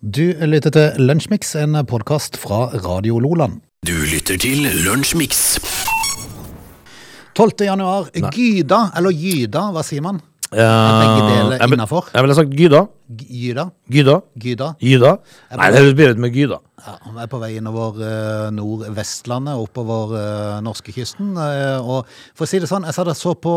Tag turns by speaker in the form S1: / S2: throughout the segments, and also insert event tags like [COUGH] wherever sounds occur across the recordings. S1: Du lytter til Lunsjmix, en podkast fra Radio Loland.
S2: Du lytter til Lunsjmix.
S1: 12. januar. Gyda, eller Gyda, hva sier man?
S3: Begge
S1: deler innenfor.
S3: Eh, Jeg ville sagt Gyda.
S1: Gyda?
S3: Gyda.
S1: Gyda?
S3: Gyda. Nei, det høres bedre ut med Gyda.
S1: Ja, vi er på vei innover eh, Nordvestlandet, oppover eh, norskekysten. eh, og for å si det sånn, jeg sa det så på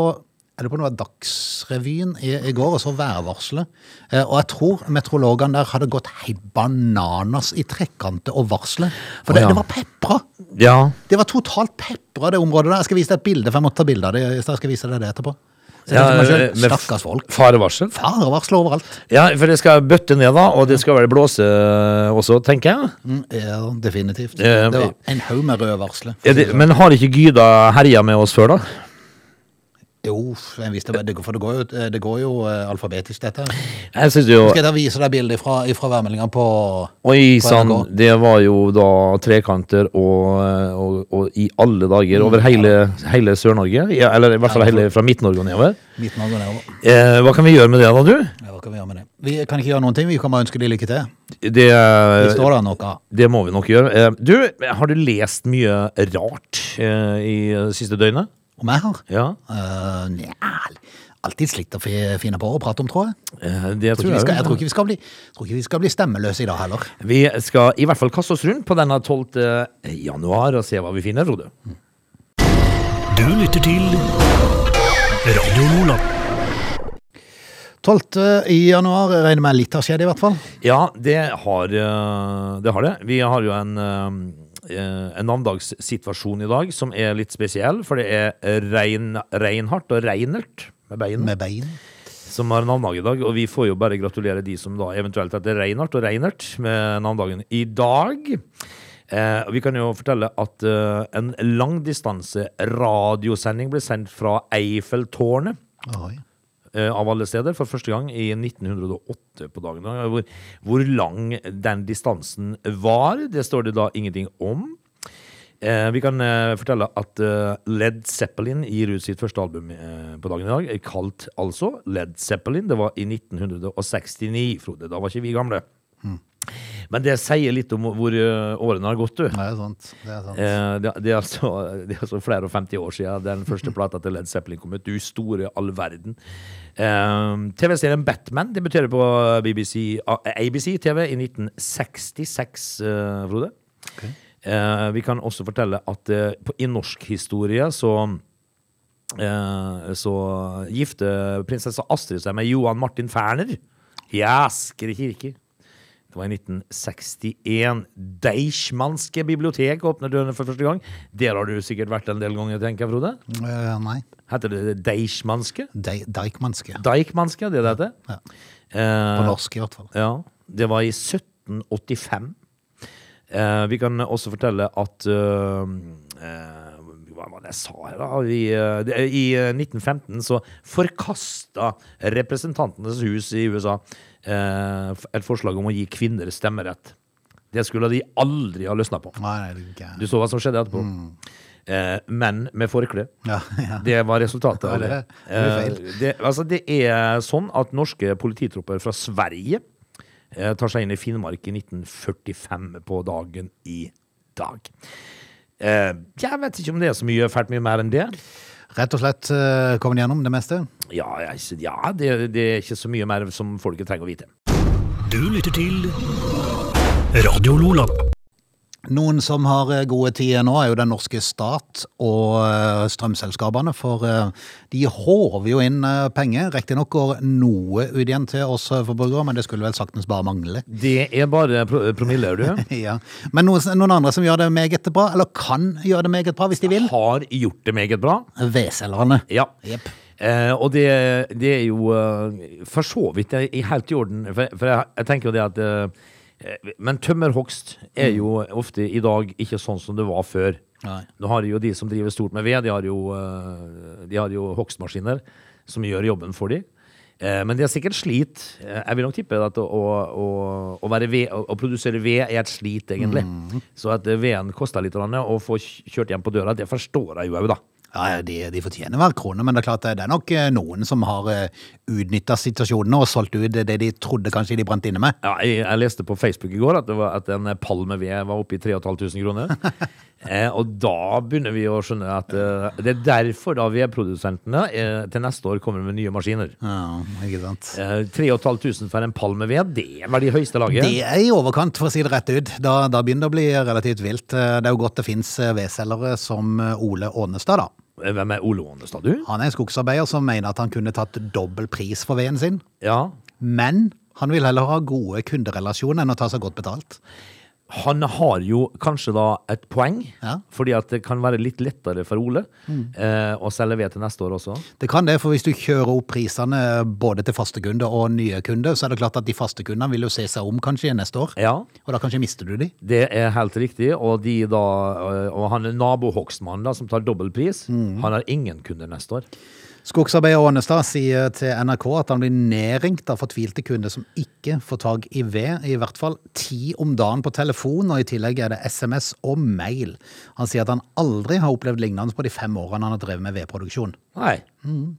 S1: er det på noe av Dagsrevyen i, i går, og så værvarselet. Eh, og jeg tror meteorologene der hadde gått helt bananas i trekantet og varselet. For det,
S3: Å, ja.
S1: det var pepra!
S3: Ja.
S1: Det var totalt pepra, det området der. Jeg skal vise deg et bilde, for jeg måtte ta bilde av det. i stad. Jeg skal vise deg det etterpå. Så
S3: Ja,
S1: jeg tenker meg
S3: med
S1: selv,
S3: f-
S1: Stakkars folk.
S3: Farevarsel.
S1: Farevarsel overalt.
S3: Ja, for det skal bøtte ned, da, og det skal vel blåse eh, også, tenker jeg.
S1: Mm, ja, definitivt.
S3: Ja,
S1: Det var
S3: men-
S1: en haug med røde varsler.
S3: Er det, men har ikke Gyda herja med oss før, da?
S1: Jo, jeg visste det, for det går jo, det går jo eh, alfabetisk, dette. her.
S3: Jeg synes jo
S1: Skal jeg da vise deg bildet fra, fra værmeldinga på
S3: Og
S1: På
S3: isene,
S1: NRK.
S3: det var jo da trekanter og, eh, og, og i alle dager over hele, hele Sør-Norge. Mm. Ja, eller i hvert fall hele fra Midt-Norge og nedover.
S1: Midt-Norge og nedover?
S3: Eh, hva kan vi gjøre med det, da, du?
S1: Ja, Hva kan vi gjøre med det? Vi kan ikke gjøre noen ting, vi kan bare ønske de lykke til.
S3: Det,
S1: Det
S3: Eh,
S1: står da noe.
S3: det må vi nok gjøre. Eh, du, har du lest mye rart eh, i eh, siste døgnet?
S1: Om jeg har?
S3: Ja,
S1: Uh, Nja, alltids litt å fi- finne på å prate om, tror jeg.
S3: eh,
S1: tror ikke
S3: det tror
S1: vi skal, jeg
S3: jeg.
S1: tror ikke vi skal bli, jeg tror ikke vi skal bli stemmeløse i dag heller.
S3: Vi skal i hvert fall kaste oss rundt på denne 12. januar og se hva vi finner, Frode.
S2: Du lytter til Radio Lola.
S1: 12. i januar regner jeg med litt har skjedd i hvert fall.
S3: Ja, det har, eh, det har det. Vi har jo en, eh, eh, en navndagssituasjon i dag som er litt spesiell, for det er Rein, Reinhardt og Reinert med bein
S1: Med bein.
S3: som har navndag i dag, og vi får jo bare gratulere de som da eventuelt heter Reinhardt og Reinert med navndagen i dag. Eh, og vi kan jo fortelle at eh, en langdistanse radiosending ble sendt fra Eiffeltårnet
S1: Oi.
S3: eh, av alle steder, for første gang i 1908 på dagen. da, Hvor, hvor lang den distansen var, det står det da ingenting om. Eh, vi kan eh, fortelle at eh, Led Zeppelin gir ut sitt første album eh, på dagen i dag, eh, kalt altså Led Zeppelin. Det var i 1969, Frode. Da var ikke vi gamle. Men det sier litt om hvor eh, årene har gått, du.
S1: Det er sant. Det er sant.
S3: Eh, det, det, er altså, [LAUGHS] det er altså flere og 50 år siden den første plata til Led Zeppelin kom ut. Du store all verden. Eh, TV-serien Batman debuterer på BBC, A- ABC TV i 1966, eh, Frode. Eh, vi kan også fortelle at eh, på, i norsk historie så eh, så gifte prinsesse Astrid seg med Johan Martin Ferner i Asker kirke. Det var i 1961. Deichmanske bibliotek åpner dørene for første gang. Der har du sikkert vært en del ganger, tenker jeg, Frode.
S1: Eh, nei.
S3: Heter det Deichmanske?
S1: De Deichmanske.
S3: Deichmanske, det det heter?
S1: Ja.
S3: Eh,
S1: På norsk i hvert fall.
S3: ja, det var i 1785. Eh, vi kan også fortelle at eh, eh, Hva var det jeg sa her, da? Vi, eh, det, I eh, 1915 så forkasta Representantenes hus i USA eh, f- et forslag om å gi kvinner stemmerett. Det skulle de aldri ha løsna på.
S1: Nei, nei, det er ikke.
S3: Du så hva som skjedde etterpå. Eh, menn med forkle.
S1: Ja, [LAUGHS] ja.
S3: Det var resultatet
S1: Ja,
S3: av det.
S1: det- det er feil.
S3: Eh, det, altså, det er sånn at norske polititropper fra Sverige eh, tar seg inn i Finnmark i 1945 på dagen i dag. Eh, jeg vet ikke om det er så mye fælt mye mer enn det.
S1: Rett og slett eh, kommet gjennom det meste.
S3: Ja, jeg, ja det, det er ikke så mye mer som folket trenger å vite.
S2: Du lytter til Radio Lola.
S1: Noen som har eh, gode tider nå, er jo den norske stat og eh, strømselskapene. For eh, de håver jo inn eh, penger. Riktignok går noe ut igjen til oss eh, forbrukere, men det skulle vel saktens bare mangle.
S3: Det er bare pro promiller, du.
S1: Ja. Men noen, noen andre som gjør det meget bra, eller kan gjøre det meget bra hvis de vil.
S3: Har gjort det meget bra.
S1: Veselgerne.
S3: Ja.
S1: Jepp.
S3: Eh, og det, det er jo eh, for så vidt det er helt i orden, for, for jeg, jeg tenker jo det at eh, Men tømmerhogst er jo ofte i dag ikke sånn som det var før.
S1: Nei.
S3: Nå har jo de som driver stort med ved, de har jo, eh, de har jo hogstmaskiner som gjør jobben for de. Eh, Men det er sikkert slit. Eh, Jeg vil nok tippe at å, å, å- å, være ved, å å produsere ved er et eh, slit, egentlig. Så at eh, veden koster litt, grann, og få kjørt hjem på døra, det forstår jeg jo òg, da.
S1: Ja, de, de fortjener hver krone, men det er klart det er nok eh, noen som har utnytta situasjonen og solgt ut det de trodde kanskje de brant inne med.
S3: Ja, jeg, jeg leste på Facebook i går at, det var, at en palmeved var oppe i 3500
S1: [LAUGHS]
S3: kroner. eh, og da begynner vi å skjønne at eh, det er derfor da vedprodusentene eh, til neste år kommer med nye maskiner.
S1: Ja, ikke sant?
S3: Eh, 3500 for en palmeved, det var de høyeste laget.
S1: Det er i overkant, for å si det rett ut. Da, da begynner det å bli relativt vilt. Eh, Det er jo godt det fins vedselgere som eh, Ole Ånestad, da.
S3: Eh, Hvem er Ole Ånestad, du?
S1: Han er en skogsarbeider som mener at han kunne tatt dobbel pris for veden sin,
S3: Ja.
S1: men han vil heller ha gode kunderelasjoner enn å ta seg godt betalt.
S3: Han har jo kanskje da et poeng,
S1: Ja. Mm.
S3: fordi at det kan være litt lettere for Ole eh, å selge ved til neste år også.
S1: Det kan det, for hvis du kjører opp prisene både til faste kunder og nye kunder, så er det klart at de faste kundene vil jo se seg om kanskje neste år,
S3: Ja.
S1: og da kanskje mister du de.
S3: Det er helt riktig, og, de da, øh, og han nabohogstmannen da, som tar dobbel pris, han har ingen kunder neste år.
S1: Skogsarbeider Ånestad sier til NRK at han blir nedringt av fortvilte kunder som ikke får tak i ved, i hvert fall ti om dagen på telefon, og i tillegg er det SMS og mail. Han sier at han aldri har opplevd lignende på de fem årene han har drevet med vedproduksjon.
S3: Nei. Mhm.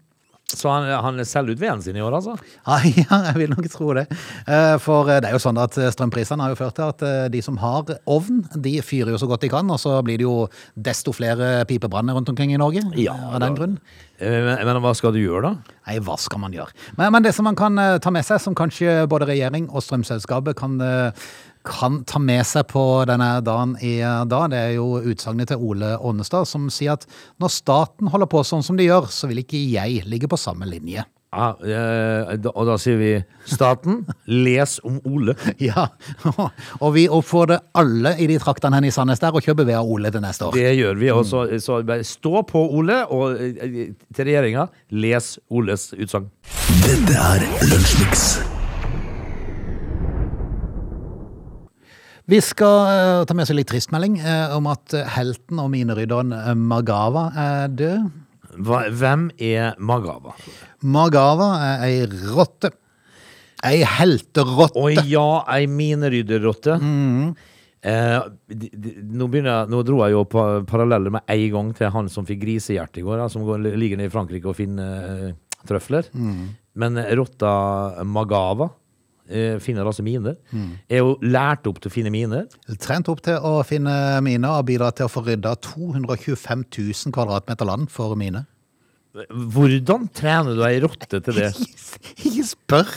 S3: Så han, han selger ut veden sin i år, altså?
S1: Ja, [LAUGHS] ja, jeg vil nok tro det. Eh, For det er jo sånn at strømprisene har jo ført til at eh, de som har ovn, de fyrer jo så godt de kan, og så blir det jo desto flere pipebranner rundt omkring i Norge av den grunn.
S3: Eh, Men, men hva skal du gjøre, da?
S1: Nei, hva skal man gjøre? Men, men det som man kan eh, ta med seg, som kanskje både regjering og strømselskapet kan, eh, kan ta med seg på denne dagen i eh, dag, det er jo utsagnet til Ole Ånestad, som sier at når staten holder på sånn som de gjør, så vil ikke jeg ligge på samme linje.
S3: Ja, eh, da- og da sier vi staten, [LAUGHS] les om Ole.
S1: [LAUGHS] Ja, og vi oppfordrer alle i de traktene her i Sandnes der å kjøpe ved av Ole til neste år.
S3: Det gjør vi. Og så, så bare stå på, Ole, og eh, til regjeringa, les Oles utsagn.
S2: Dette er Lunsjmix.
S1: Vi skal eh, ta med oss en litt trist melding eh, om at eh, helten og minerydderen eh, Magawa er død.
S3: Hva- Hvem er Magava?
S1: Magawa er ei rotte. Ei helterotte.
S3: Og ja, ei minerydderrotte. Eh, de- de- nå, begynner jeg, nå dro jeg jo pa paralleller med en gang til han som fikk grisehjerte i går, da, som går, ligger nede i Frankrike og finner eh, trøfler. Men eh, rotta Magava eh, finner altså miner. Er jo lært opp til å finne miner.
S1: Trent opp til å finne miner og bidra til å få rydda 225 000 kvadratmeter land for mine.
S3: Hvordan trener du ei rotte til det? Altså,
S1: Ikke spør!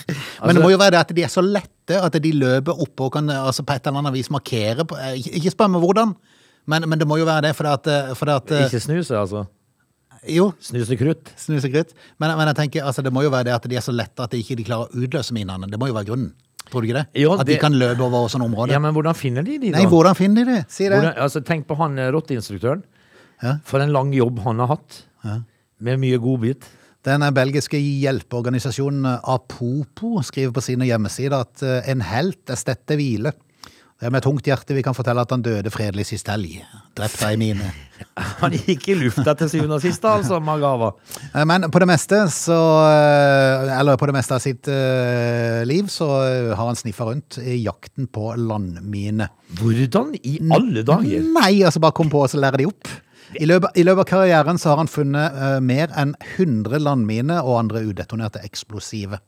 S1: Men det må jo være det at de er så lette at de løper oppe og kan eh, altså på et eller annet vis markere på, eh, Ikke ikke spør meg hvordan, men, men det må jo være det, for det at, eh, for det at eh,
S3: [LAUGHS] Ikke snuse, altså.
S1: Jo,
S3: Snuse krutt.
S1: snus og krutt. Men, men jeg tenker, altså, det må jo være det at de er så lette at de ikke de klarer å utløse minene. Det må jo være grunnen. Tror du ikke det?
S3: Jo,
S1: At de
S3: det-
S1: kan løpe over sånne
S3: Ja,
S1: områder.
S3: men hvordan finner de de, da?
S1: Nei, hvordan finner de det? Si det.
S3: Hvordan, altså, tenk på han eh, rotteinstruktøren.
S1: Ja.
S3: For en lang jobb han har hatt. Med mye godbit. [LAUGHS]
S1: Den belgiske hjelpeorganisasjonen Apopo skriver på sine hjemmesider at eh, en helt er stette hvile. Det er med tungt hjerte vi kan fortelle at han døde fredelig sist helg. Drept av ei mine.
S3: Han gikk i lufta til syvende og sist, da, altså, Magava.
S1: Eh, Men på det meste så eh, Eller på det meste av sitt eh, liv så eh, har han sniffa rundt i jakten på landmine.
S3: Hvordan i alle dager?
S1: Nei, altså bare kom på og så lærer de opp. I løpet, I løpet av karrieren så har han funnet eh, mer enn 100 landminer og andre udetonerte eksplosive.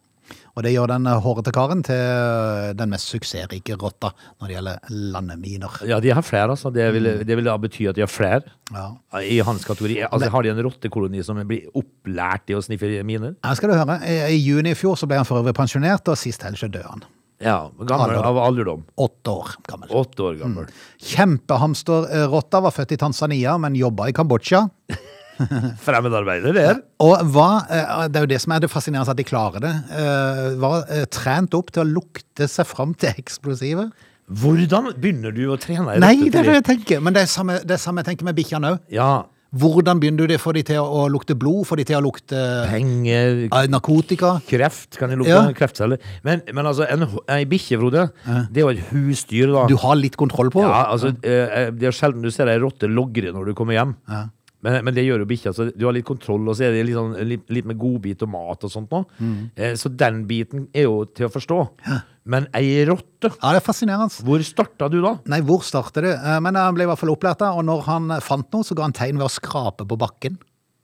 S1: Og det gjør den eh, hårete karen til eh, den mest suksessrike rotta når det gjelder landminer.
S3: Ja, de har flere, altså. Det vil, det vil da bety at de har flere
S1: Ja.
S3: i hans kategori. Altså, Har de en rottekoloni som blir opplært i å sniffe miner?
S1: Her skal du høre. I, I juni i fjor så ble han for øvrig pensjonert, og sist helg så døde han.
S3: Ja, gammel,
S1: Alder.
S3: Av alderdom.
S1: Åtte år gammel.
S3: Åtte år gammel.
S1: Mm. [LAUGHS] Kjempehamsterrotta var født i Tanzania, men jobba i Kambodsja.
S3: Fremmedarbeider, det er.
S1: Og var, eh, det er jo det som er det fascinerende, at de klarer det. eh, Var eh, trent opp til å lukte seg fram til eksplosivet.
S3: Hvordan begynner du å trene ei
S1: Nei, det er
S3: til
S1: det jeg tenker. Men det er samme, det er samme jeg tenker med bikkjene òg.
S3: Ja,
S1: Hvordan begynner du det? Får de til å lukte blod? Får de til å lukte
S3: penger,
S1: eh, narkotika?
S3: Kreft kan jeg lukte
S1: Ja.
S3: kreftceller. Men, men altså, en, ho- ei bikkje, Frode, det er jo et husdyr, da.
S1: Du har litt kontroll på det.
S3: ja, altså, eh, eh, Det er sjelden du ser ei rotte logre når du kommer hjem. Men, men det gjør jo bikkja. så Du har litt kontroll, og så er det litt, sånn, litt, litt med godbit og mat og sånt nå.
S1: Mm.
S3: Eh, så den biten er jo til å forstå. Men ei rotte,
S1: Ja, det er fascinerende.
S3: hvor starta du da?
S1: Nei, hvor starter du? Eh, Men han ble i hvert fall opplært, da, og når han fant noe, så ga han tegn ved å skrape på bakken.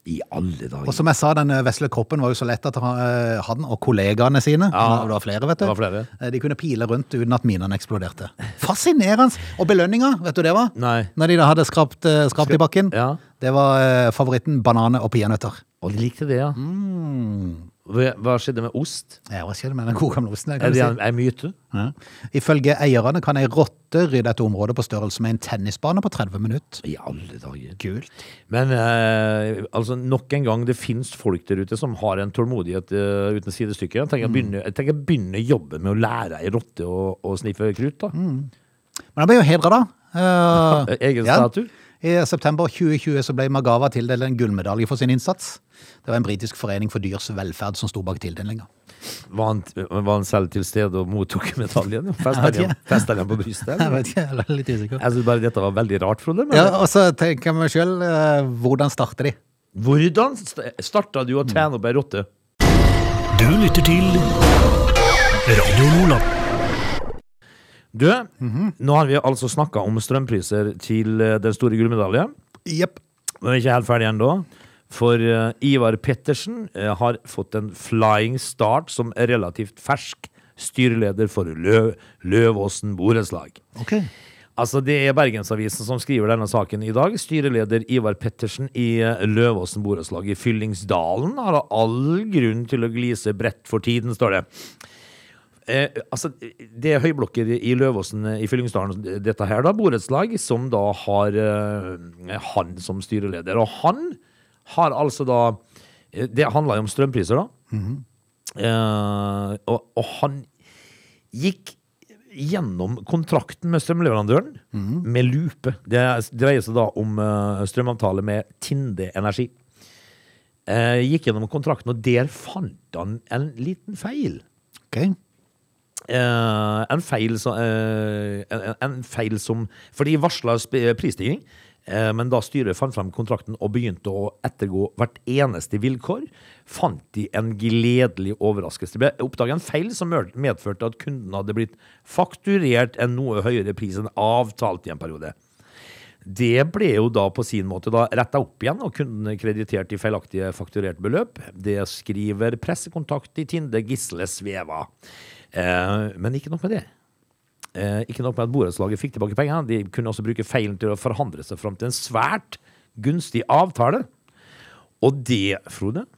S3: I alle dager.
S1: Og som jeg sa, den eh, vesle kroppen var jo så lett at han, eh, han og kollegaene sine
S3: Ja.
S1: det var flere, vet du.
S3: Det var flere.
S1: Eh, De kunne pile rundt uten at minene eksploderte. Fascinerende! Og belønninga, vet du det var?
S3: Nei.
S1: Når de da hadde skrapt, eh, skrapt i bakken.
S3: Ja.
S1: Det var eh, favoritten bananer og peanøtter.
S3: Og de likte det, ja. Hva hva skjedde med ost?
S1: Ja, hva skjer med den gode gamle osten? der,
S3: Er
S1: Mm. Kan du
S3: det
S1: si?
S3: en en myte?
S1: ja. Ifølge eierne kan ei rotte rydde et område på størrelse med en tennisbane på 30 minutter.
S3: I alle dager.
S1: Kult.
S3: Men eh, altså, nok en gang, det fins folk der ute som har en tålmodighet eh, uten sidestykke. Jeg
S1: Mm.
S3: tenker, å begynne, jeg tenker å begynne jobben med å lære ei rotte å, å sniffe krutt, da.
S1: Mm. Men han ble jo hedra, da. Eh,
S3: [LAUGHS] Egen
S1: ja.
S3: statue.
S1: I september 2020 så ble Magawa tildelt en gullmedalje for sin innsats. Det var en britisk forening for dyrs velferd som sto bak tildelinga.
S3: Var han, var han selv til stede og
S1: [LAUGHS]
S3: mottok medaljen?
S1: Jeg vet
S3: Festa
S1: ikke.
S3: han den på
S1: [LAUGHS] [LAUGHS]
S3: brystet?
S1: Jeg
S3: eller?
S1: vet ikke, jeg er litt usikker.
S3: Jeg syns bare dette var veldig rart, Frode. Men
S1: Ja, og så tenker jeg meg sjøl, hvordan starter de?
S3: hvordan st- starta du å
S1: Mm.
S3: trene opp ei rotte?
S2: Du lytter til Radio Lola.
S3: Du,
S1: Mhm.
S3: nå har vi altså snakka om strømpriser til eh, den store gullmedaljen.
S1: Jepp.
S3: Men vi er ikke helt ferdig ennå. For eh, Ivar Pettersen eh, har fått en flying start som er relativt fersk styreleder for Lø Løvåsen borettslag.
S1: Ok.
S3: Altså, Det er Bergensavisen som skriver denne saken i dag. Styreleder Ivar Pettersen i eh, Løvåsen borettslag i Fyllingsdalen har all grunn til å glise bredt for tiden, står det. Eh, altså, det er høyblokker i Løvåsen eh, i Fyllingsdalen, dette her da, borettslag, som da har eh, han som styreleder. Og han har altså da eh, Det handla jo om strømpriser, da. eh, og, og han gikk gjennom kontrakten med strømleverandøren med lupe. Det dreier seg da om eh, strømavtale med Tinde Energi. Eh, gikk gjennom kontrakten, og der fant han en liten feil.
S1: Ok.
S3: Eh, en, feil som, eh, en, en feil som For de varsla prisstigning, eh, men da styret fant fram kontrakten og begynte å ettergå hvert eneste vilkår, fant de en gledelig overraskelse. Det ble oppdaga en feil som mør- medførte at kunden hadde blitt fakturert en noe høyere pris enn avtalt i en periode. Det ble jo da på sin måte da retta opp igjen, og kunden er kreditert i feilaktige fakturerte beløp. Det skriver pressekontakt i Tinde Gisle Sveva. Eh, men ikke nok med det. Eh, ikke nok med at borettslaget fikk tilbake pengene, de kunne også bruke feilen til å forhandle seg fram til en svært gunstig avtale. Og det, Frode,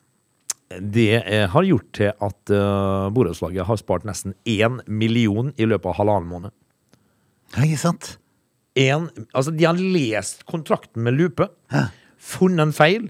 S3: det eh, har gjort til at eh, borettslaget har spart nesten én million i løpet av halvannen måned
S1: Nei, sant?
S3: en, altså De har lest kontrakten med lupe, funnet en feil,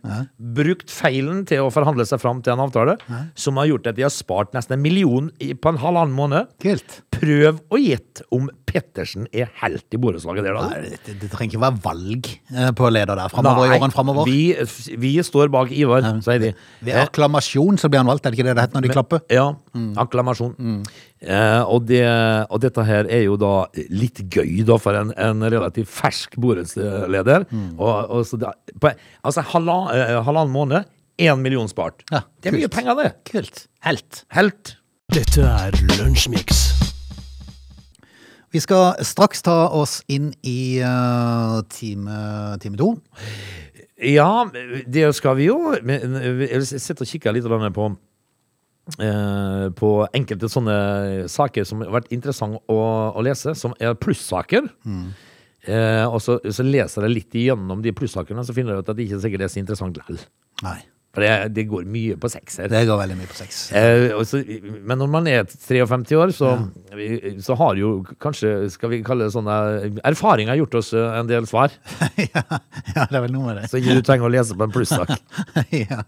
S3: brukt feilen til å forhandle seg fram til en avtale, som har gjort at de har spart nesten en million i, på en halvannen måned.
S1: Kult.
S3: Prøv og gjett om Pettersen er helt i borettslaget der, da.
S1: Nei, det, det trenger ikke være valg eh, på leder der fremover, i årene framover.
S3: vi, vi står bak Ivar, sier Eh, de.
S1: Ved akklamasjon så blir han valgt, er det ikke det det heter når de klapper?
S3: Ja.
S1: Mm.
S3: Akklamasjon. Eh, og, det, og dette her er jo da litt gøy da for en, en relativt fersk borettsleder.
S1: Mm.
S3: Og, og så da, på, altså halvannen eh, halvannen måned, én million spart.
S1: Ja,
S3: det er mye
S1: kult.
S3: penger, det.
S1: Kult. Helt.
S3: Helt.
S2: Dette er Lunsjmix.
S1: Vi skal straks ta oss inn i eh, time, time to.
S3: Ja, det skal vi jo. Men jeg sitter og kikker litt grann på eh, på enkelte sånne saker som har vært interessant å, å lese, som er plussaker. Eh, og så, så leser jeg litt igjennom de plussakene, så finner jeg ut at det ikke sikkert er så interessant likevel.
S1: Nei.
S3: For det, det går mye på sekser.
S1: Det går veldig mye på
S3: [LAUGHS]
S1: sex.
S3: Eh, og så, men når man er 53 år, så, så har jo kanskje, skal vi kalle det sånne Erfaring har gjort oss eh, en del svar,
S1: ja, ja, det er vel noe med det.
S3: så ikke du trenger å lese på en plussak.
S1: [LAUGHS] ja.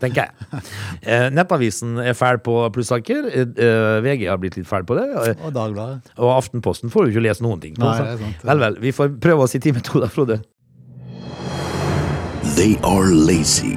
S3: tenker jeg. Eh, Nettavisen er fæl på plussaker. Eh, eh, VG har blitt litt fæl på det. eh,
S1: Og Dagbladet.
S3: Og Aftenposten får jo ikke lese noen ting. på,
S1: Nei,
S3: så.
S1: det er sant.
S3: Vel, vel. Vi får prøve oss i time to, da, Frode.
S2: They are lazy.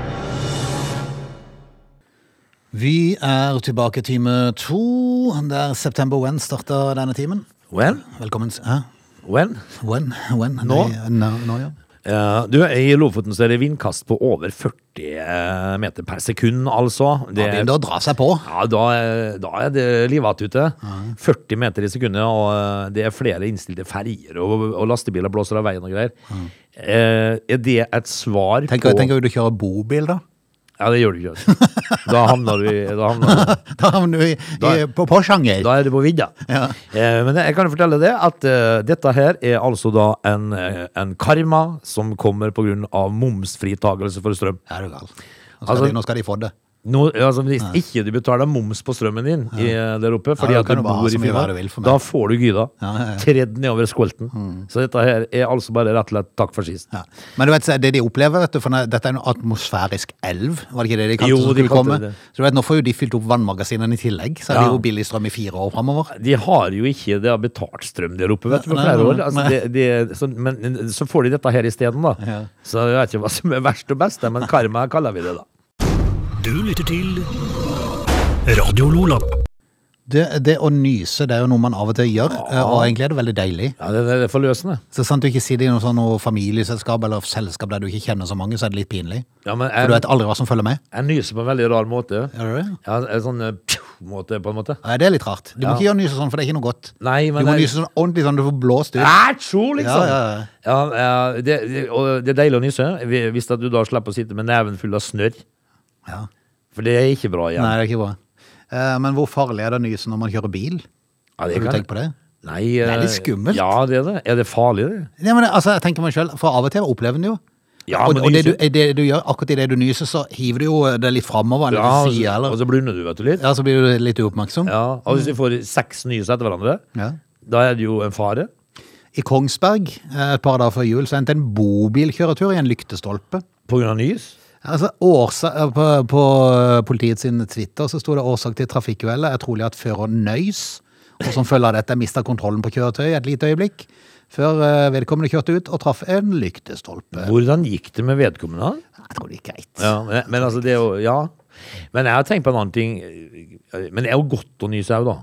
S1: Vi er tilbake i time to, der September When starta denne timen.
S3: Well,
S1: Velkommen s- Hæ?
S3: well.
S1: When? When?
S3: Nå?
S1: Nei, Nå, nå ja.
S3: Eh, du, I Lofoten så er det vindkast på over 40 meter per sekund, altså. Det,
S1: Det begynner å dra seg på.
S3: Ja, da, er- da er det livat ute. 40 meter i sekundet, og eh, det er flere innstilte ferger, og, og lastebiler blåser av veien og greier. Eh, er det et svar
S1: Tenk,
S3: på
S1: tenk om du kjører bobil, da. [LAUGHS]
S3: Ja, det gjør du ikke. Da havner du i da, havner,
S1: Da havner du i, i,
S3: Da-
S1: på Porsanger.
S3: da er du på vidda. Eh, men jeg kan jo fortelle det at eh, dette her er altså da en, eh, en karma som kommer pga. momsfritakelse for strøm.
S1: Er du gal. Nå skal,
S3: Altså-
S1: de, nå skal de få det.
S3: Nå, altså, hvis ikke du betaler moms på strømmen din i, eh, der oppe, fordi
S1: da
S3: at
S1: kan
S3: du
S1: du bare ha
S3: bor i
S1: så mye hva
S3: Finnmark,
S1: du vil for meg.
S3: da får du gyda.
S1: Ja, ja, Mm. ja.
S3: Tredd nedover skolten. Så dette her er altså bare rett og slett takk for sist.
S1: Ja. Men du vet, så er det de opplever, vet du, for dette er en atmosfærisk elv, var det ikke det de kalte
S3: Jo,
S1: det som
S3: de
S1: skulle
S3: kalte
S1: komme?
S3: det det.
S1: Så du vet, nå får jo de fylt opp vannmagasinene i tillegg, så er
S3: Ja.
S1: det jo billig strøm i fire år framover.
S3: De har jo ikke det har betalt strøm der oppe vet du, på
S1: Nei,
S3: flere
S1: nei,
S3: år.
S1: nei.
S3: Altså, det- det- så, men så får de dette her isteden, da.
S1: Ja.
S3: Så jeg vet ikke hva som er verst og best, men karma kaller vi det, da.
S4: Du lytter til Radio Lola.
S1: Det, det å nyse, det er jo noe man av og til gjør, eh, og egentlig er det veldig deilig.
S3: Ja, det, det er forløsende.
S1: Så sant du ikke sitter i noe sånn noe familieselskap eller selskap der du ikke kjenner så mange, så er det litt pinlig.
S3: Ja, men
S1: For du
S3: jeg,
S1: vet aldri hva som følger med.
S3: jeg nyser på en veldig rar måte.
S1: Er det det?
S3: Ja, en sånn eh, pju-måte, på en måte.
S1: Nei, det er litt rart. Du må
S3: Ja.
S1: ikke gjøre nyse sånn, for det er ikke noe godt.
S3: Nei, men
S1: du må
S3: jeg-
S1: nyse sånn ordentlig sånn, du får blåst ut.
S3: Ætsjo, liksom!
S1: Ja, ja, ja.
S3: Ja, eh, det, det- og det er deilig å nyse, vi- hvis at du da slipper å sitte med neven full av snørr.
S1: Ja.
S3: For det er ikke bra igjen.
S1: Nei, det er ikke bra. Eh, Men hvor farlig er det å nyse når man kjører bil?
S3: ja,
S1: Har du
S3: kan-
S1: tenkt på det?
S3: Nei, eh,
S1: Det er litt skummelt.
S3: Ja, det er det. Er det farlig, det?
S1: Nei, men altså, jeg tenker meg selv, for av og til opplever den jo.
S3: Ja,
S1: og
S3: men
S1: og det, du, eh,
S3: nyser-
S1: det du gjør, akkurat i det du nyser, så hiver du jo eh, det litt framover, eller
S3: Ja,
S1: til siden,
S3: og
S1: eller...
S3: så blunder du, vet du, litt.
S1: Ja, så blir du litt uoppmerksom.
S3: Ja, og hvis vi får seks nyser etter hverandre,
S1: Ja.
S3: da er det jo en fare.
S1: I Kongsberg, eh, et par dager før jul, så endte en bobilkjøretur i en lyktestolpe.
S3: På grunn av nys.
S1: Altså, årsa, eh, på, på eh, politiets sin Twitter så sto det årsak til trafikkuhellet er trolig at føreren nøys, og som følge av dette mista kontrollen på kjøretøyet et lite øyeblikk, før eh, vedkommende kjørte ut og traff en lyktestolpe.
S3: Hvordan gikk det med vedkommende?
S1: Jeg tror det gikk greit.
S3: Ja, men, men altså, det er jo Ja. Men jeg har tenkt på en annen ting. Men det er jo godt å nyse òg, da.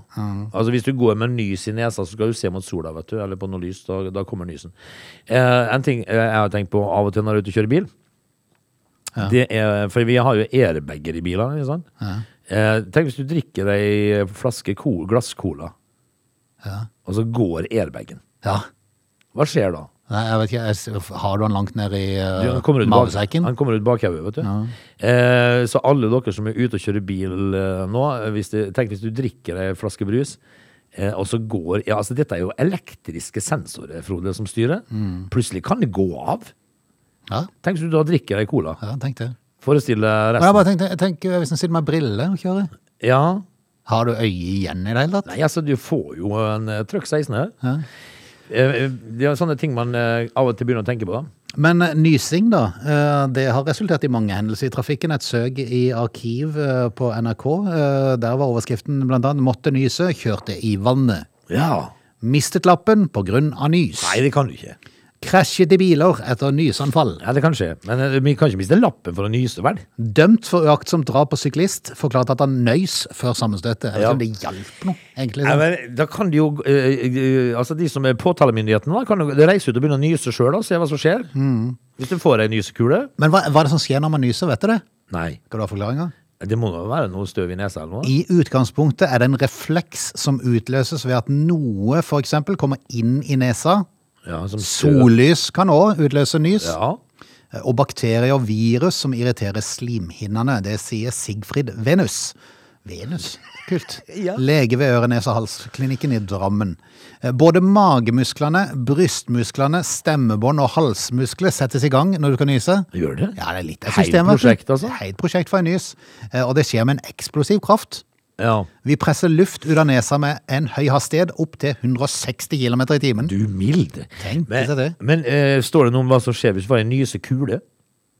S3: Altså Hvis du går med nys i nesa, så skal du se mot sola, vet du. Eller på noe lys. Da, da kommer nysen. Eh, en ting eh, jeg har tenkt på av og til når jeg er ute og kjører bil, det er For vi har jo airbager i bilene, ikke sant. Eh, tenk hvis du drikker ei flaske ko- glass-cola, og så går airbagen.
S1: Ja.
S3: Hva skjer da?
S1: Nei, jeg vet ikke, jeg, s- har du han langt ned i eh,
S3: Ja, han kommer ut bak-
S1: mavesekken?
S3: Han kommer ut bakhodet, vet du. Eh, så alle dere som er ute og kjører bil eh, nå, hvis det, tenk hvis du drikker ei flaske brus, eh, og så går ja, altså Dette er jo elektriske sensorer, Frode, som styrer. Plutselig kan det gå av.
S1: Ja,
S3: Tenk hvis du da drikker ei cola.
S1: ja, tenk det.
S3: Forestill deg
S1: Men jeg
S3: resten.
S1: bare tenkte, jeg tenker, hvis han sitter med briller og kjører,
S3: Ja.
S1: har du øye igjen i det hele tatt?
S3: Nei, altså, du får jo en eh, trøkk 16 her. Eh, eh, Det er sånne ting man eh, av og til begynner å tenke på. da.
S1: Men eh, nysing, da. eh, Det har resultert i mange hendelser i trafikken. Et søk i arkiv eh, på NRK. eh, Der var overskriften blant annet 'Måtte nyse, kjørte i vannet'.
S3: Ja.
S1: Mistet lappen på grunn av nys.
S3: Nei, det kan du ikke.
S1: Krasjet i biler etter nysanfall.
S3: Ja, Det kan skje. Men eh, vi kan ikke miste lappen for å nyse, vel?
S1: Dømt for uaktsomt drap på syklist. Forklarte at han nøys før sammenstøtet. Jeg vet ikke
S3: Ja.
S1: om det hjalp noe, egentlig.
S3: Ja, men, da kan de jo eh, eh, Altså de som er påtalemyndigheten da, kan jo reise ut og begynne å nyse sjøl og se hva som skjer.
S1: Mm.
S3: Hvis du får ei nysekule
S1: Men hva, hva er det som skjer når man nyser, vet du det?
S3: Nei.
S1: Skal du ha forklaringa?
S3: Det må jo være noe støv i nesa eller noe.
S1: I utgangspunktet er det en refleks som utløses ved at noe f.eks. kommer inn i nesa.
S3: Ja, som støv.
S1: Sollys kan òg utløse nys.
S3: Ja.
S1: Og bakterier og virus som irriterer slimhinnene. Det sier Sigfrid Venus. Venus? Kult.
S3: [LAUGHS] Ja.
S1: Lege ved øre-nese-hals-klinikken i Drammen. Eh, Både magemusklene, brystmusklene, stemmebånd og halsmuskler settes i gang når du kan nyse.
S3: Gjør det?
S1: Ja, det er litt av
S3: Heit
S1: systemet. vet du.
S3: prosjekt, altså.
S1: Heit prosjekt for en nys. Eh, Og det skjer med en eksplosiv kraft.
S3: Ja.
S1: Vi presser luft ut av nesa med en høy hastighet opp til 160 km i timen.
S3: Du mild.
S1: Tenk seg
S3: Men,
S1: det.
S3: men eh, står det noe om hva som skjer hvis du får ei nysekule?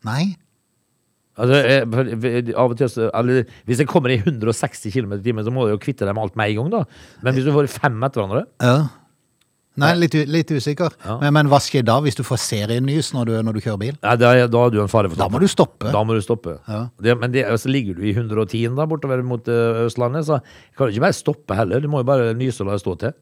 S1: Nei.
S3: Altså, eh, for- for- av og til så, eller, Hvis det kommer i 160 km i timen, så må du jo kvitte deg med alt med en gang, da. Men hvis du får fem etter hverandre,
S1: Ja. Nei, litt, u- litt usikker. Men, men hva skjer da hvis du får serienews når du, når du kjører bil?
S3: Nei, da, da er du en fare for
S1: Da må
S3: toppen.
S1: du stoppe.
S3: Da må du stoppe. Det, men det, så ligger du i 110 da, bortover mot eh, Østlandet, så kan du ikke bare stoppe heller. Du må jo bare nyse og la det stå til.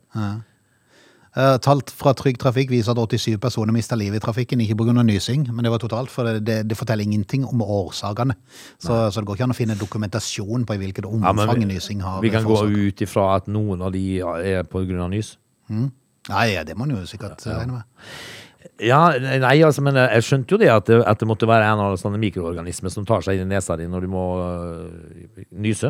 S1: Eh, talt fra Trygg Trafikk viser at 87 personer mista livet i trafikken, ikke pga. nysing, men det var totalt, for det, det, det forteller ingenting om årsakene. Så, så det går ikke an å finne dokumentasjon på i hvilket
S3: Ja, men
S1: omfang
S3: vi-
S1: nysing har
S3: Vi kan gå
S1: forårsaket.
S3: ut ifra at noen av de ja, er på grunn av nys.
S1: Nei, ja, det må en jo sikkert regne med.
S3: Ja, nei, altså, men jeg skjønte jo det at det, at det måtte være en av sånne mikroorganismer som tar seg inn i nesa di når du må øh, nyse.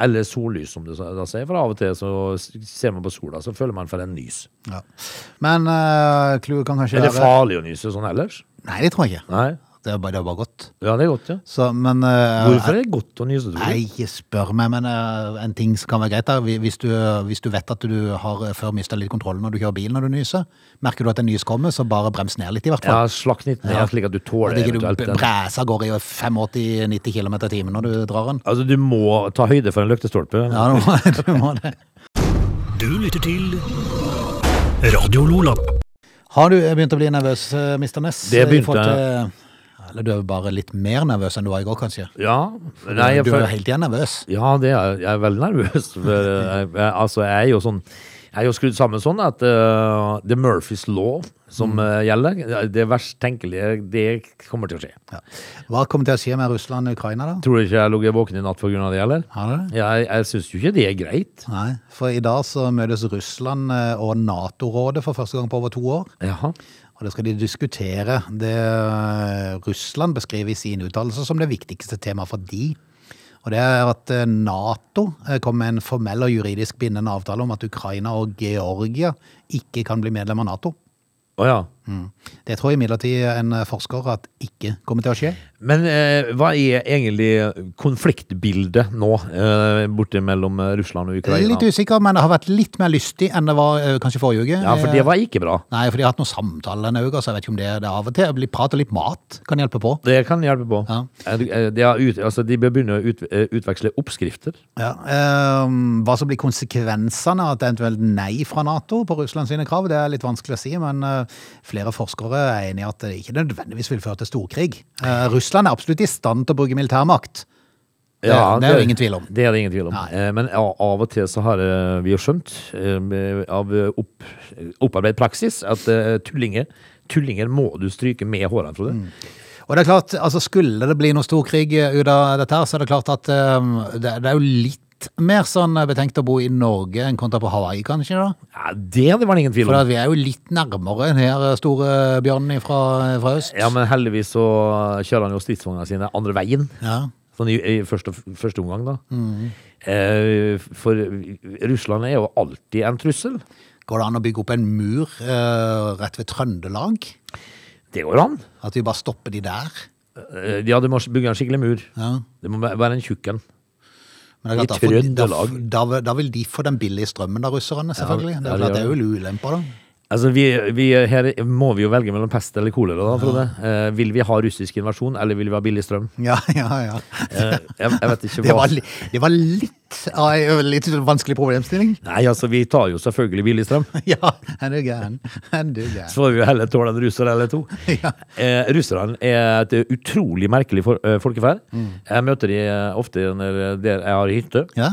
S3: Eller sollys, som du sa- da sier. For av og til så s- ser man på sola, så føler man for en nys.
S1: Ja. Men uh, clouet kan kanskje
S3: Er det
S1: være
S3: farlig å nyse sånn ellers?
S1: Nei, det tror jeg ikke.
S3: Nei.
S1: Det er bare, det er bare godt.
S3: Ja, det er godt, ja.
S1: Så, men eh,
S3: Hvorfor er det godt å nyse, tror du?
S1: Nei, ikke spør meg, men eh, en ting som kan være greit da, hvi- hvis du, hvis du vet at du har eh, før mistet litt kontroll når du kjører bil når du nyser, merker du at en nys kommer, så bare brems ned litt i hvert
S3: Ja,
S1: fall.
S3: slakk litt ned,
S1: Ja.
S3: slik at du
S1: At
S3: tåler
S1: ikke du
S3: eventuelt
S1: b-
S3: den.
S1: bræser går i 85-90 km i timen når du drar den.
S3: Altså, du må ta høyde for en løktestolpe.
S1: Ja, du må, [LAUGHS] du må det.
S4: Du lytter til Radio Lola.
S1: Har du begynt å bli nervøs, eh, Mr. Ness?
S3: Det
S1: i
S3: begynte
S1: forhold til- Eller du er jo bare litt mer nervøs enn du var i går, kanskje?
S3: Ja. Nei, jeg
S1: du er
S3: føler
S1: jo hele tiden nervøs.
S3: Ja, det er, jeg er veldig nervøs.
S1: [LAUGHS]
S3: For, eh, jeg, jeg, altså, jeg er jo sånn Jeg er jo skrudd sammen sånn at eh, det er Murphys law som
S1: Mm.
S3: eh, gjelder. Det verst tenkelige, det kommer til å skje.
S1: Ja. Hva kommer til å skje med Russland og Ukraina da?
S3: Tror du ikke jeg har ligget våken i natt pga. det, eller?
S1: Har du det?
S3: Jeg, jeg syns jo ikke det er greit.
S1: Nei, for i dag så møtes Russland eh, og NATO-rådet for første gang på over to år.
S3: Jaha.
S1: Og det skal de diskutere. Det eh, Russland beskriver i sin uttalelse som det viktigste temaet for de. Og det er at eh, Nato eh, kom med en formell og juridisk bindende avtale om at Ukraina og Georgia ikke kan bli medlem av Nato.
S3: Å ja.
S1: Det tror imidlertid en eh, forsker at ikke kommer til å skje.
S3: Men eh, hva er egentlig konfliktbildet nå, eh, borte mellom eh, Russland og Ukraina?
S1: Litt usikker, men det har vært litt mer lystig enn det var eh, kanskje forrige uke. Eh,
S3: Ja, for det var ikke bra.
S1: Nei, for de har hatt noen samtaler denne uka, så jeg vet ikke om det det er av og til. Litt Prat og litt mat kan hjelpe på.
S3: Det kan hjelpe på.
S1: Ja.
S3: Eh, du- eh, De, har ut, altså, de bør begynne å ut, eh, utveksle oppskrifter.
S1: Ja, ehm, hva som blir konsekvensene av et eventuelt nei fra Nato på Russlands sine krav, det er litt vanskelig å si, men eh, flere forskere er enige i at det ikke nødvendigvis vil føre til storkrig. Eh, Russland er absolutt i stand til å bruke militærmakt. Det- det er det ingen tvil om.
S3: Det er det ingen tvil om.
S1: Nei.
S3: Eh, Men a- av og til så har eh, vi jo skjønt eh, med- av eh, opp, opparbeidet praksis at eh, tullinger, tullinger må du stryke med hårene, Frode.
S1: Mm. Og det er klart, altså skulle det bli noe storkrig eh, ut av dette her, så er det klart at ehm, det, det er jo litt mer sånn eh, betenkt å bo i Norge enn kontra på Hawaii, kanskje da?
S3: Ja, det, det var det ingen tvil
S1: For da,
S3: om.
S1: vi er jo litt nærmere den her eh, store bjørnen fra, eh, fra øst.
S3: Ja, men heldigvis så kjører han jo stridsvognene sine andre veien.
S1: Ja.
S3: Sånn i, i første, første omgang, da.
S1: Mm.
S3: Eh, For Russland er jo alltid en trussel.
S1: Går det an å bygge opp en mur eh, rett ved Trøndelag?
S3: Det går an.
S1: At vi bare stopper de der?
S3: Eh, Ja, du må bygge en skikkelig mur.
S1: Ja.
S3: Det må være en tjukk en.
S1: Men det er
S3: I
S1: da får de- da
S3: Trøndelag?
S1: f- Da, vil- da vil de få den billige strømmen da, russerne, selvfølgelig.
S3: Ja,
S1: det, er
S3: ja,
S1: klart, det
S3: det
S1: er jo ulemper, da.
S3: Altså, vi, vi, her må vi jo velge mellom pest eller kolera, da, Frode. Eh, vil vi ha russisk invasjon, eller vil vi ha billig strøm?
S1: Ja, [LAUGHS] ja, ja.
S3: Eh, jeg, jeg
S1: [LAUGHS]
S3: vet ikke
S1: Det
S3: hva
S1: var, li- det var litt av en litt vanskelig problemstilling. [LAUGHS]
S3: Nei, altså, vi tar jo selvfølgelig billig strøm.
S1: Ja, er du gæren? Er du gæren?
S3: Så får vi jo heller tåle en russer eller
S1: [LAUGHS]
S3: to. Eh, Russerne er et utrolig merkelig for, eh, folkeferd. Jeg møter de eh, ofte når, der jeg har hytte.
S1: Mm. Ja?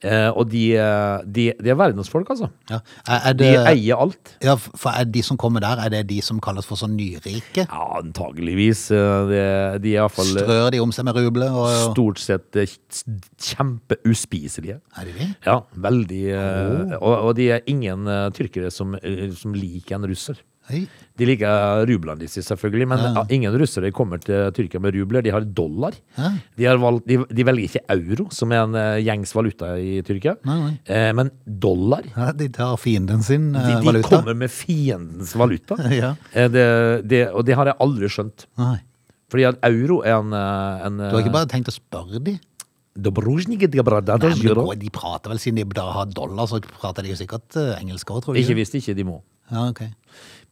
S3: Eh, og de, eh, de, de er verdensfolk, altså.
S1: ja. Er, er
S3: De
S1: det,
S3: eier alt.
S1: ja, for er de som kommer der, er det de som kalles for sånn nyrike?
S3: Ja, antageligvis. eh, De, de er iallfall
S1: Strør de om seg med rubler? Og,
S3: stort sett eh, kjempeuspiselige.
S1: er det de?
S3: Ja, veldig. eh, Og, og de er ingen eh, tyrkere som, eh, som liker en russer.
S1: Oi.
S3: De liker rublene disse, selvfølgelig, men eh, ingen russere kommer til Tyrkia med rubler. De har dollar.
S1: Ja.
S3: De, har valgt, de, de velger ikke euro, som er en eh, gjengs valuta i Tyrkia,
S1: Nei, nei.
S3: Eh, men dollar.
S1: Ja, de tar fienden sin
S3: De,
S1: eh,
S3: de
S1: valuta?
S3: kommer med fiendens valuta.
S1: [LAUGHS] Ja.
S3: Eh, det, det, og det har jeg aldri skjønt.
S1: Nei.
S3: Fordi at euro er en, eh, en
S1: Du har ikke bare tenkt å spørre de? Nei, men det går,
S3: bare
S1: de prater vel siden de da har dollar, så prater de jo sikkert eh, engelsk òg, tror du?
S3: Ikke hvis ikke de må.
S1: Ja, ok.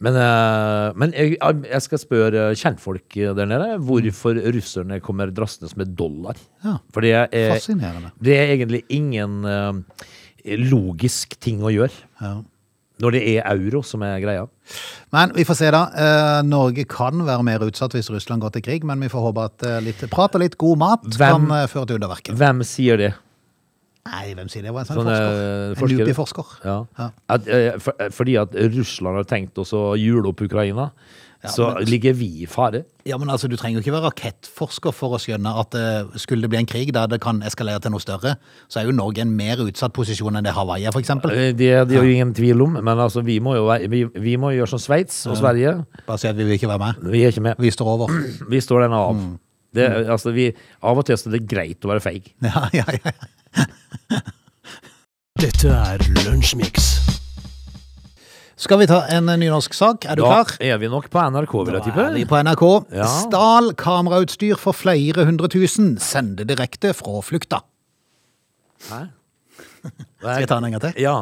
S3: Men, eh, men jeg, jeg skal spørre kjentfolk der nede hvorfor russerne kommer drassende med dollar.
S1: Ja.
S3: For det er,
S1: Fascinerende.
S3: det er egentlig ingen eh, logisk ting å gjøre.
S1: Ja.
S3: Når det er euro som er greia.
S1: Men vi får se, da. Eh, Norge kan være mer utsatt hvis Russland går til krig, men vi får håpe at eh, litt prat og litt god mat
S3: Hvem-
S1: kan eh, føre til underverker.
S3: Hvem sier det?
S1: Nei, hvem sier det? Det var en sånn
S3: Sånn,
S1: forsker.
S3: eh, forsker.
S1: En UPI-forsker.
S3: Ja.
S1: Ja.
S3: At, eh, for, eh, fordi at Russland har tenkt også å jule opp Ukraina, så
S1: men-
S3: ligger vi i fare.
S1: Ja, men altså, Du trenger jo ikke være rakettforsker for å skjønne at eh, skulle det bli en krig der det kan eskalere til noe større, så er jo Norge en mer utsatt posisjon enn det Hawaii er, f.eks.
S3: Eh, Det, det er jo ingen tvil om, men altså, vi må jo være- vi, vi må jo gjøre som Sveits og Sverige.
S1: Bare si at vi vil ikke være med.
S3: Vi er ikke med.
S1: Vi står over.
S3: Vi står den av.
S1: Mm.
S3: Det, altså, vi, av og til så er det greit å være feig.
S1: Ja, ja, ja.
S4: Dette er Lunsjmix.
S1: Skal vi ta en eh, nynorsk sak? Er du
S3: Da
S1: klar?
S3: er vi nok på NRK, vil jeg
S1: Da er vi
S3: tippe.
S1: på NRK.
S3: Ja.
S1: Stal kamerautstyr for flere hundre tusen. Sende direkte fra flukta.
S3: Hæ?
S1: [LAUGHS] Skal jeg ta den en gang til?
S3: Ja.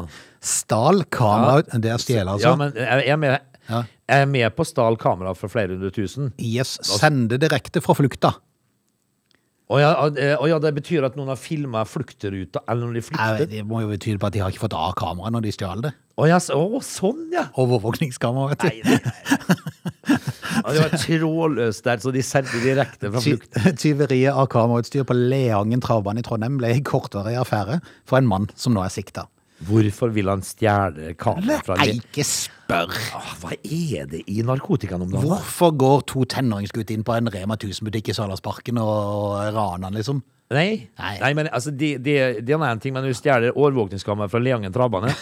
S1: Stal kameraut... Det er stjele, altså.
S3: ja, men jeg er med,
S1: Ja.
S3: jeg er med på stal kamera for flere hundre tusen.
S1: Yes. Sende direkte fra flukta.
S3: Og ja, eh, og ja, det betyr at noen har filma flukteruta, eller når de
S1: Nei,
S3: flukter.
S1: Det må jo bety på at de har ikke fått av kameraet når de stjal det.
S3: Å ja, så, å, sånn, ja!
S1: Overvåkningskamera, vet du.
S3: Nei, nei, nei. Ja, Det
S1: [LAUGHS]
S3: var trådløst der, så de sendte direkte fra
S1: Ty [LAUGHS]
S3: flukt.
S1: tyveriet av kamerautstyr på Leangen travbane i Trondheim ble en kortvarig affære for en mann som nå er sikta.
S3: Hvorfor vil han stjele kamera fra
S1: Nei, ikke spør!
S3: Åh, Hva er det i narkotikaen om dagen?
S1: Hvorfor går to tenåringsgutter inn på en Rema 1000-butikk i Salasparken og raner den, liksom?
S3: Nei.
S1: Nei.
S3: Nei, men altså, det det- det er en ting, men når du stjeler overvåkningskamera fra
S1: [LAUGHS]
S3: Leangen travbane,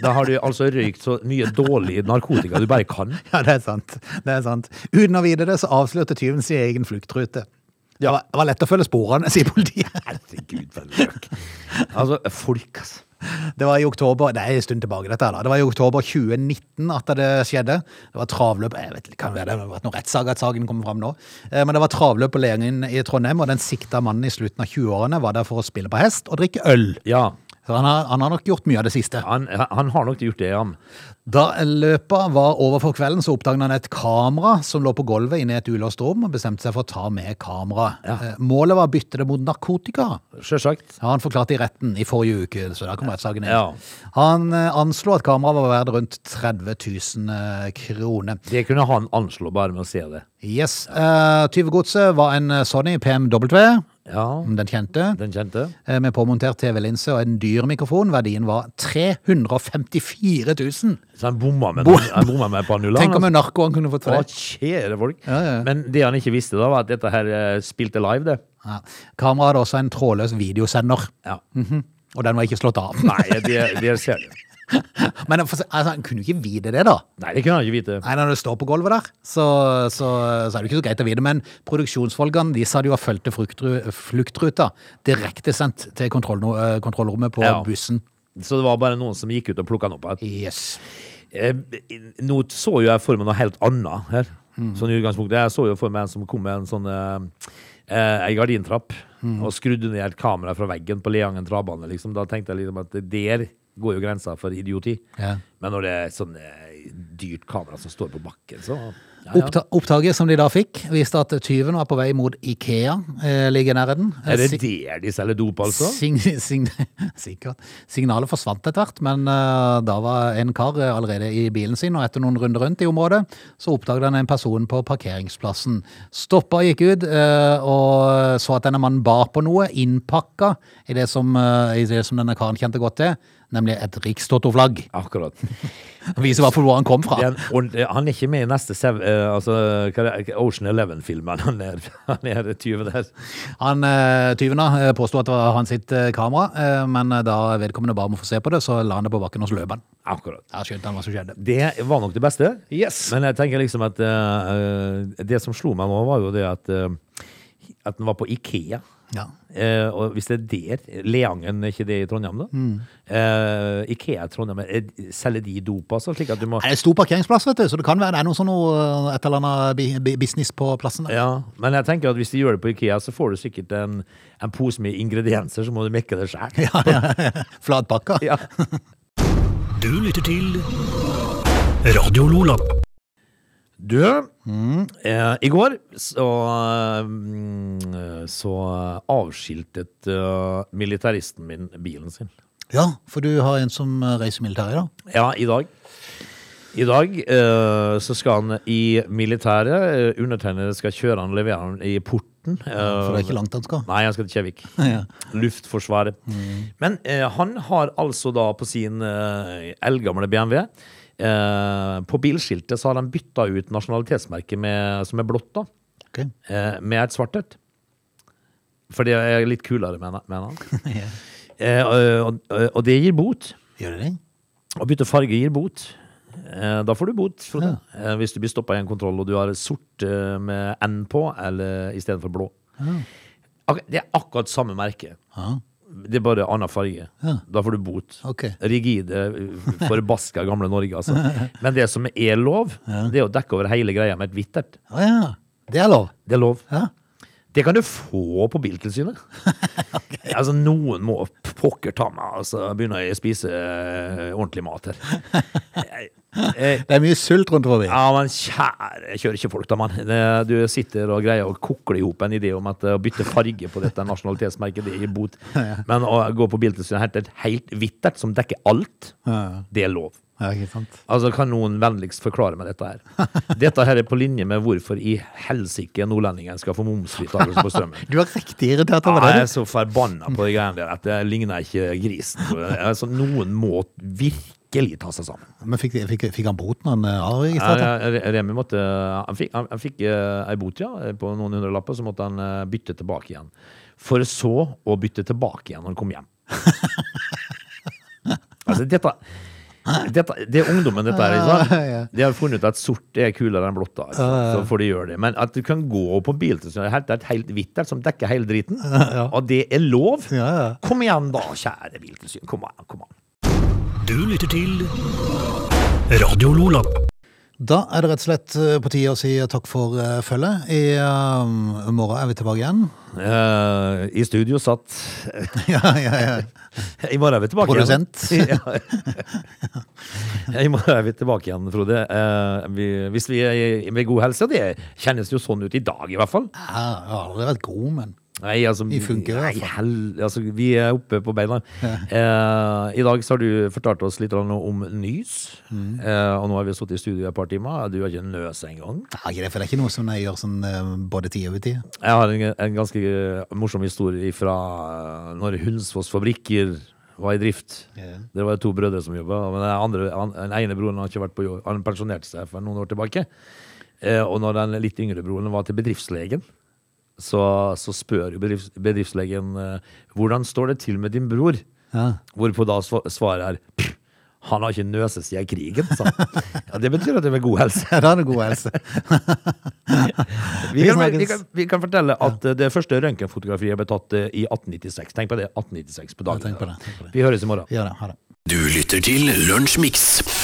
S3: da har du altså røykt så mye dårlig narkotika du bare kan.
S1: [LAUGHS] Ja, det er sant. Det er sant. Uten å vite det, så avslørte tyven sin egen fluktrute. Det var, det var lett å følge sporene, [LAUGHS] sier politiet.
S3: Herregud, for en løk. Altså, folk, altså.
S1: Det var i oktober det er en stund tilbake dette her da. Det var i oktober 2019 at det skjedde. Det var travløp Jeg vet ikke, kan være det har vært noen rettssak at saken kommer fram nå. Eh, Men det var travløp på Leangen i Trondheim, og den sikta mannen i slutten av 20-årene var der for å spille på hest og drikke øl.
S3: Ja,
S1: Så han har, han har nok gjort mye av det siste.
S3: han, han har nok gjort det, han.
S1: Da løpet var over for kvelden, så oppdaget han et kamera som lå på gulvet inne i et ulåst rom, og bestemte seg for å ta med kameraet.
S3: Ja.
S1: Eh, Målet var å bytte det mot narkotika.
S3: Sjølsagt.
S1: Har han forklart i retten i forrige uke, så der kom rettssaken inn.
S3: Ja.
S1: Han eh, anslo at kameraet var verdt rundt 30 000 eh, kroner.
S3: Det kunne han anslå bare med å se det.
S1: Yes. eh, Tyvegodset var en eh, Sony PMW,
S3: Ja,
S1: den kjente,
S3: den kjente.
S1: eh, med påmontert TV-linse og en dyr mikrofon. Verdien var 354 000.
S3: Så han bomma med,
S1: Bo-
S3: han bomma med panula.
S1: Tenk om en narko han kunne fått for
S3: altså. Å,
S1: det.
S3: kjære folk.
S1: ja, ja.
S3: Men det han ikke visste, da, var at dette her eh, spilte live, det.
S1: Ja. Kameraet hadde også en trådløs videosender, [LAUGHS]
S3: Ja.
S1: og den var ikke slått av.
S3: Nei, det, det ser du.
S1: Men for- altså, han kunne jo ikke vite det, da.
S3: Nei, det kunne han ikke vite.
S1: Nei, Når det står på gulvet der, så, så, så er det ikke så greit å vite. Men produksjonsfolkene de sa de var fulgt til fruktru- fluktruta, direktesendt til kontroll, eh, kontrollrommet på
S3: Ja.
S1: bussen.
S3: Så det var bare noen som gikk ut og plukka den opp igjen.
S1: Yes.
S3: Eh, Nå så jo jeg for meg noe helt annet her. Sånn i utgangspunktet. Jeg så jo for meg en som kom med en sånn eh, eh, ei gardintrapp og skrudde ned et kamera fra veggen på Leangen travbane. Liksom. Da tenkte jeg liksom at det der går jo grensa for idioti.
S1: Ja.
S3: Men når det er sånn eh, dyrt kamera som står på bakken, så ja, ja.
S1: Oppta opptaket som de da fikk, viste at tyven var på vei mot Ikea. Eh, ligger i nærheten.
S3: Er det
S1: Si-
S3: der de selger dop, altså?
S1: Sign, sign, sikkert. Signalet forsvant etter hvert, men eh, da var en kar eh, allerede i bilen sin, og etter noen runder rundt i området, så oppdaget han en person på parkeringsplassen. Stoppa gikk ut eh, og så at denne mannen bar på noe, innpakka i det som, eh, i det som denne karen kjente godt til, nemlig et rikstoto-flagg. [LAUGHS]
S3: Akkurat. Det
S1: Han Viser i hvert fall hvor han kom fra.
S3: er en ordentlig- han er ikke med i neste sev, eh, altså, hva er det- Ocean Eleven-filmen. Han er, [LAUGHS] han er 20 der.
S1: Han, eh, Tyven da, eh, påsto at det var hans sitt eh, kamera, eh, men eh, da vedkommende ba om å få se på det, så la han det på bakken og så løp han.
S3: Akkurat.
S1: Da skjønte han hva som skjedde.
S3: Det var nok det beste. Men jeg tenker liksom at eh, eh, det som slo meg nå, var jo det at eh, at den var på Ikea.
S1: Ja.
S3: Eh, og hvis det er der Leangen, er ikke det i Trondheim, da?
S1: Mm.
S3: Eh, Ikea i Trondheim, er- selger de dop, altså? Slik at du må
S1: Nei, Det er stor parkeringsplass, vet du, så det kan være det er noe sånn noe, et eller annet bi- bi- business på plassen. der.
S3: Ja, men jeg tenker at hvis de gjør det på Ikea, så får du sikkert en, en pose med ingredienser, så må du mekke det sjøl.
S1: Ja, [LAUGHS] ja. Flatpakka.
S3: Ja.
S4: Du lytter til Radio Lola.
S3: Du,
S1: Mm.
S3: eh, i går så, mm, så avskiltet eh, militaristen min bilen sin.
S1: Ja, for du har en som eh, reiser i militæret i dag.
S3: Ja, i dag. I dag eh, så skal han i militæret. eh, Undertegnede skal kjøre han og levere han i porten. Eh,
S1: For det er ikke langt han skal.
S3: Nei, han skal til Kjevik.
S1: [LAUGHS] Ja. Mm.
S3: Luftforsvaret. Men eh, han har altså da på sin eh, eldgamle BMW eh, På bilskiltet så har han bytta ut nasjonalitetsmerket med, som er blått, da,
S1: Ok. [LAUGHS]
S3: eh, med et svart et. For det er litt kulere, mener mener han.
S1: Ja.
S3: Eh, og, og, og det gir bot.
S1: Gjør det det?
S3: Å bytte farge gir bot. Eh, Da får du bot, Frode. Eh, Hvis du blir stoppa i en kontroll og du har sort eh, med N på eller istedenfor blå. Ak- Det er akkurat samme merke.
S1: Ja.
S3: Det er bare annen farge. Da får du bot.
S1: Ok.
S3: Rigide, eh, forbaska gamle Norge, altså. Men det som er lov, det er å dekke over hele greia med et hvitt et.
S1: Å ja. Det er lov.
S3: Det er lov.
S1: Ja.
S3: Det kan du få på
S1: [LAUGHS]
S3: Biltilsynet. Altså, noen må p- pokker ta meg, altså. Begynner jeg å spise eh, ordentlig
S1: [LAUGHS]
S3: mat her. Eh, eh,
S1: Det er mye sult rundt forbi.
S3: Ja, men kjære, jeg kjører ikke folk da, mann. Det- Du sitter og greier å kokle i hop en idé om at eh, å bytte farge på dette nasjonalitetsmerket, det gir
S1: [LAUGHS]
S3: bot. Men å gå på Biltilsynet og hente et helt hvitt et som dekker alt,
S1: Ja.
S3: det er lov.
S1: Ja, ikke sant?
S3: Altså, kan noen vennligst forklare meg dette her? Dette her er på linje med hvorfor i helsike nordlendingen skal få momsfritakelse på
S1: [LAUGHS]
S3: strømmen.
S1: Du er riktig irritert over
S3: Ja,
S1: det.
S3: jeg er så forbanna på de greiene der at det ligner ikke grisen. Altså, noen må virkelig ta seg sammen.
S1: du. Men fikk, fikk, fikk han boten han eh, avregistrerte?
S3: Ja, ja, Remi måtte Han fikk, han, han fikk eh, ei bot, ja, på noen hundrelapper. Så måtte han eh, bytte tilbake igjen. For så å bytte tilbake igjen når han
S1: [LAUGHS]
S3: kom hjem. altså, dette dette, det er ungdommen, dette her. Ikke
S1: ja.
S3: sant? De har funnet ut at sort er kulere enn blått. da, ikke sant? Så får de gjøre det. Men at du kan gå på biltilsynet og hente et helt hvitt der som dekker hele driten, og det er lov
S1: Ja, ja.
S3: Kom igjen, da, kjære biltilsyn. Kom an, kom an.
S4: Du lytter til Radio Lola.
S1: Da er det rett og slett eh, på tide å si takk for eh, følget. I eh, morgen er vi tilbake igjen. [LAUGHS]
S3: Eh, I studio satt
S1: ja, ja, ja.
S3: I morgen er vi tilbake [LAUGHS]
S1: Produsent.
S3: igjen. Produsent. I morgen er vi tilbake igjen, Frode. Eh, vi, hvis vi er i- med god helse, det kjennes jo sånn ut i dag i hvert fall.
S1: Ja, Jeg har aldri vært god, men
S3: Nei, altså,
S1: Vi funker i hvert
S3: nei, hel, altså, vi er oppe på beina. Eh, I dag så har du fortalt oss litt grann om nys,
S1: Mm.
S3: eh, og nå har vi sittet i studio i et par timer. Du har ikke nøs engang.
S1: ja, ikke det, for det er ikke noe som jeg gjør sånn eh, både tid og utid.
S3: Jeg har en, en ganske eh, morsom historie fra eh, når Hunsfoss Fabrikker var i drift.
S1: Ja.
S3: Det var jo to brødre som jobba, men den, andre, han, den ene broren har ikke vært på jobb. Han pensjonerte seg for noen år tilbake. Eh, og når den litt yngre broren var til bedriftslegen, så, så spør jo bedrifts, bedriftslegen eh, hvordan står det til med din bror.
S1: Ja.
S3: Hvorpå da sva- svaret er «Pff, han har ikke nøset siden krigen, sa han. Ja, det betyr at det er med god helse.
S1: [LAUGHS] Da er det god helse.
S3: Vi kan,
S1: snakkes.
S3: vi kan, vi kan fortelle at eh, det første røntgenfotografiet ble tatt eh, i 1896. Tenk på det. 1896 på dagen.
S1: tenk på det, tenk på det.
S3: Vi høres i morgen.
S1: Vi gjør det. Ha det.
S4: Du lytter til Lunsjmix.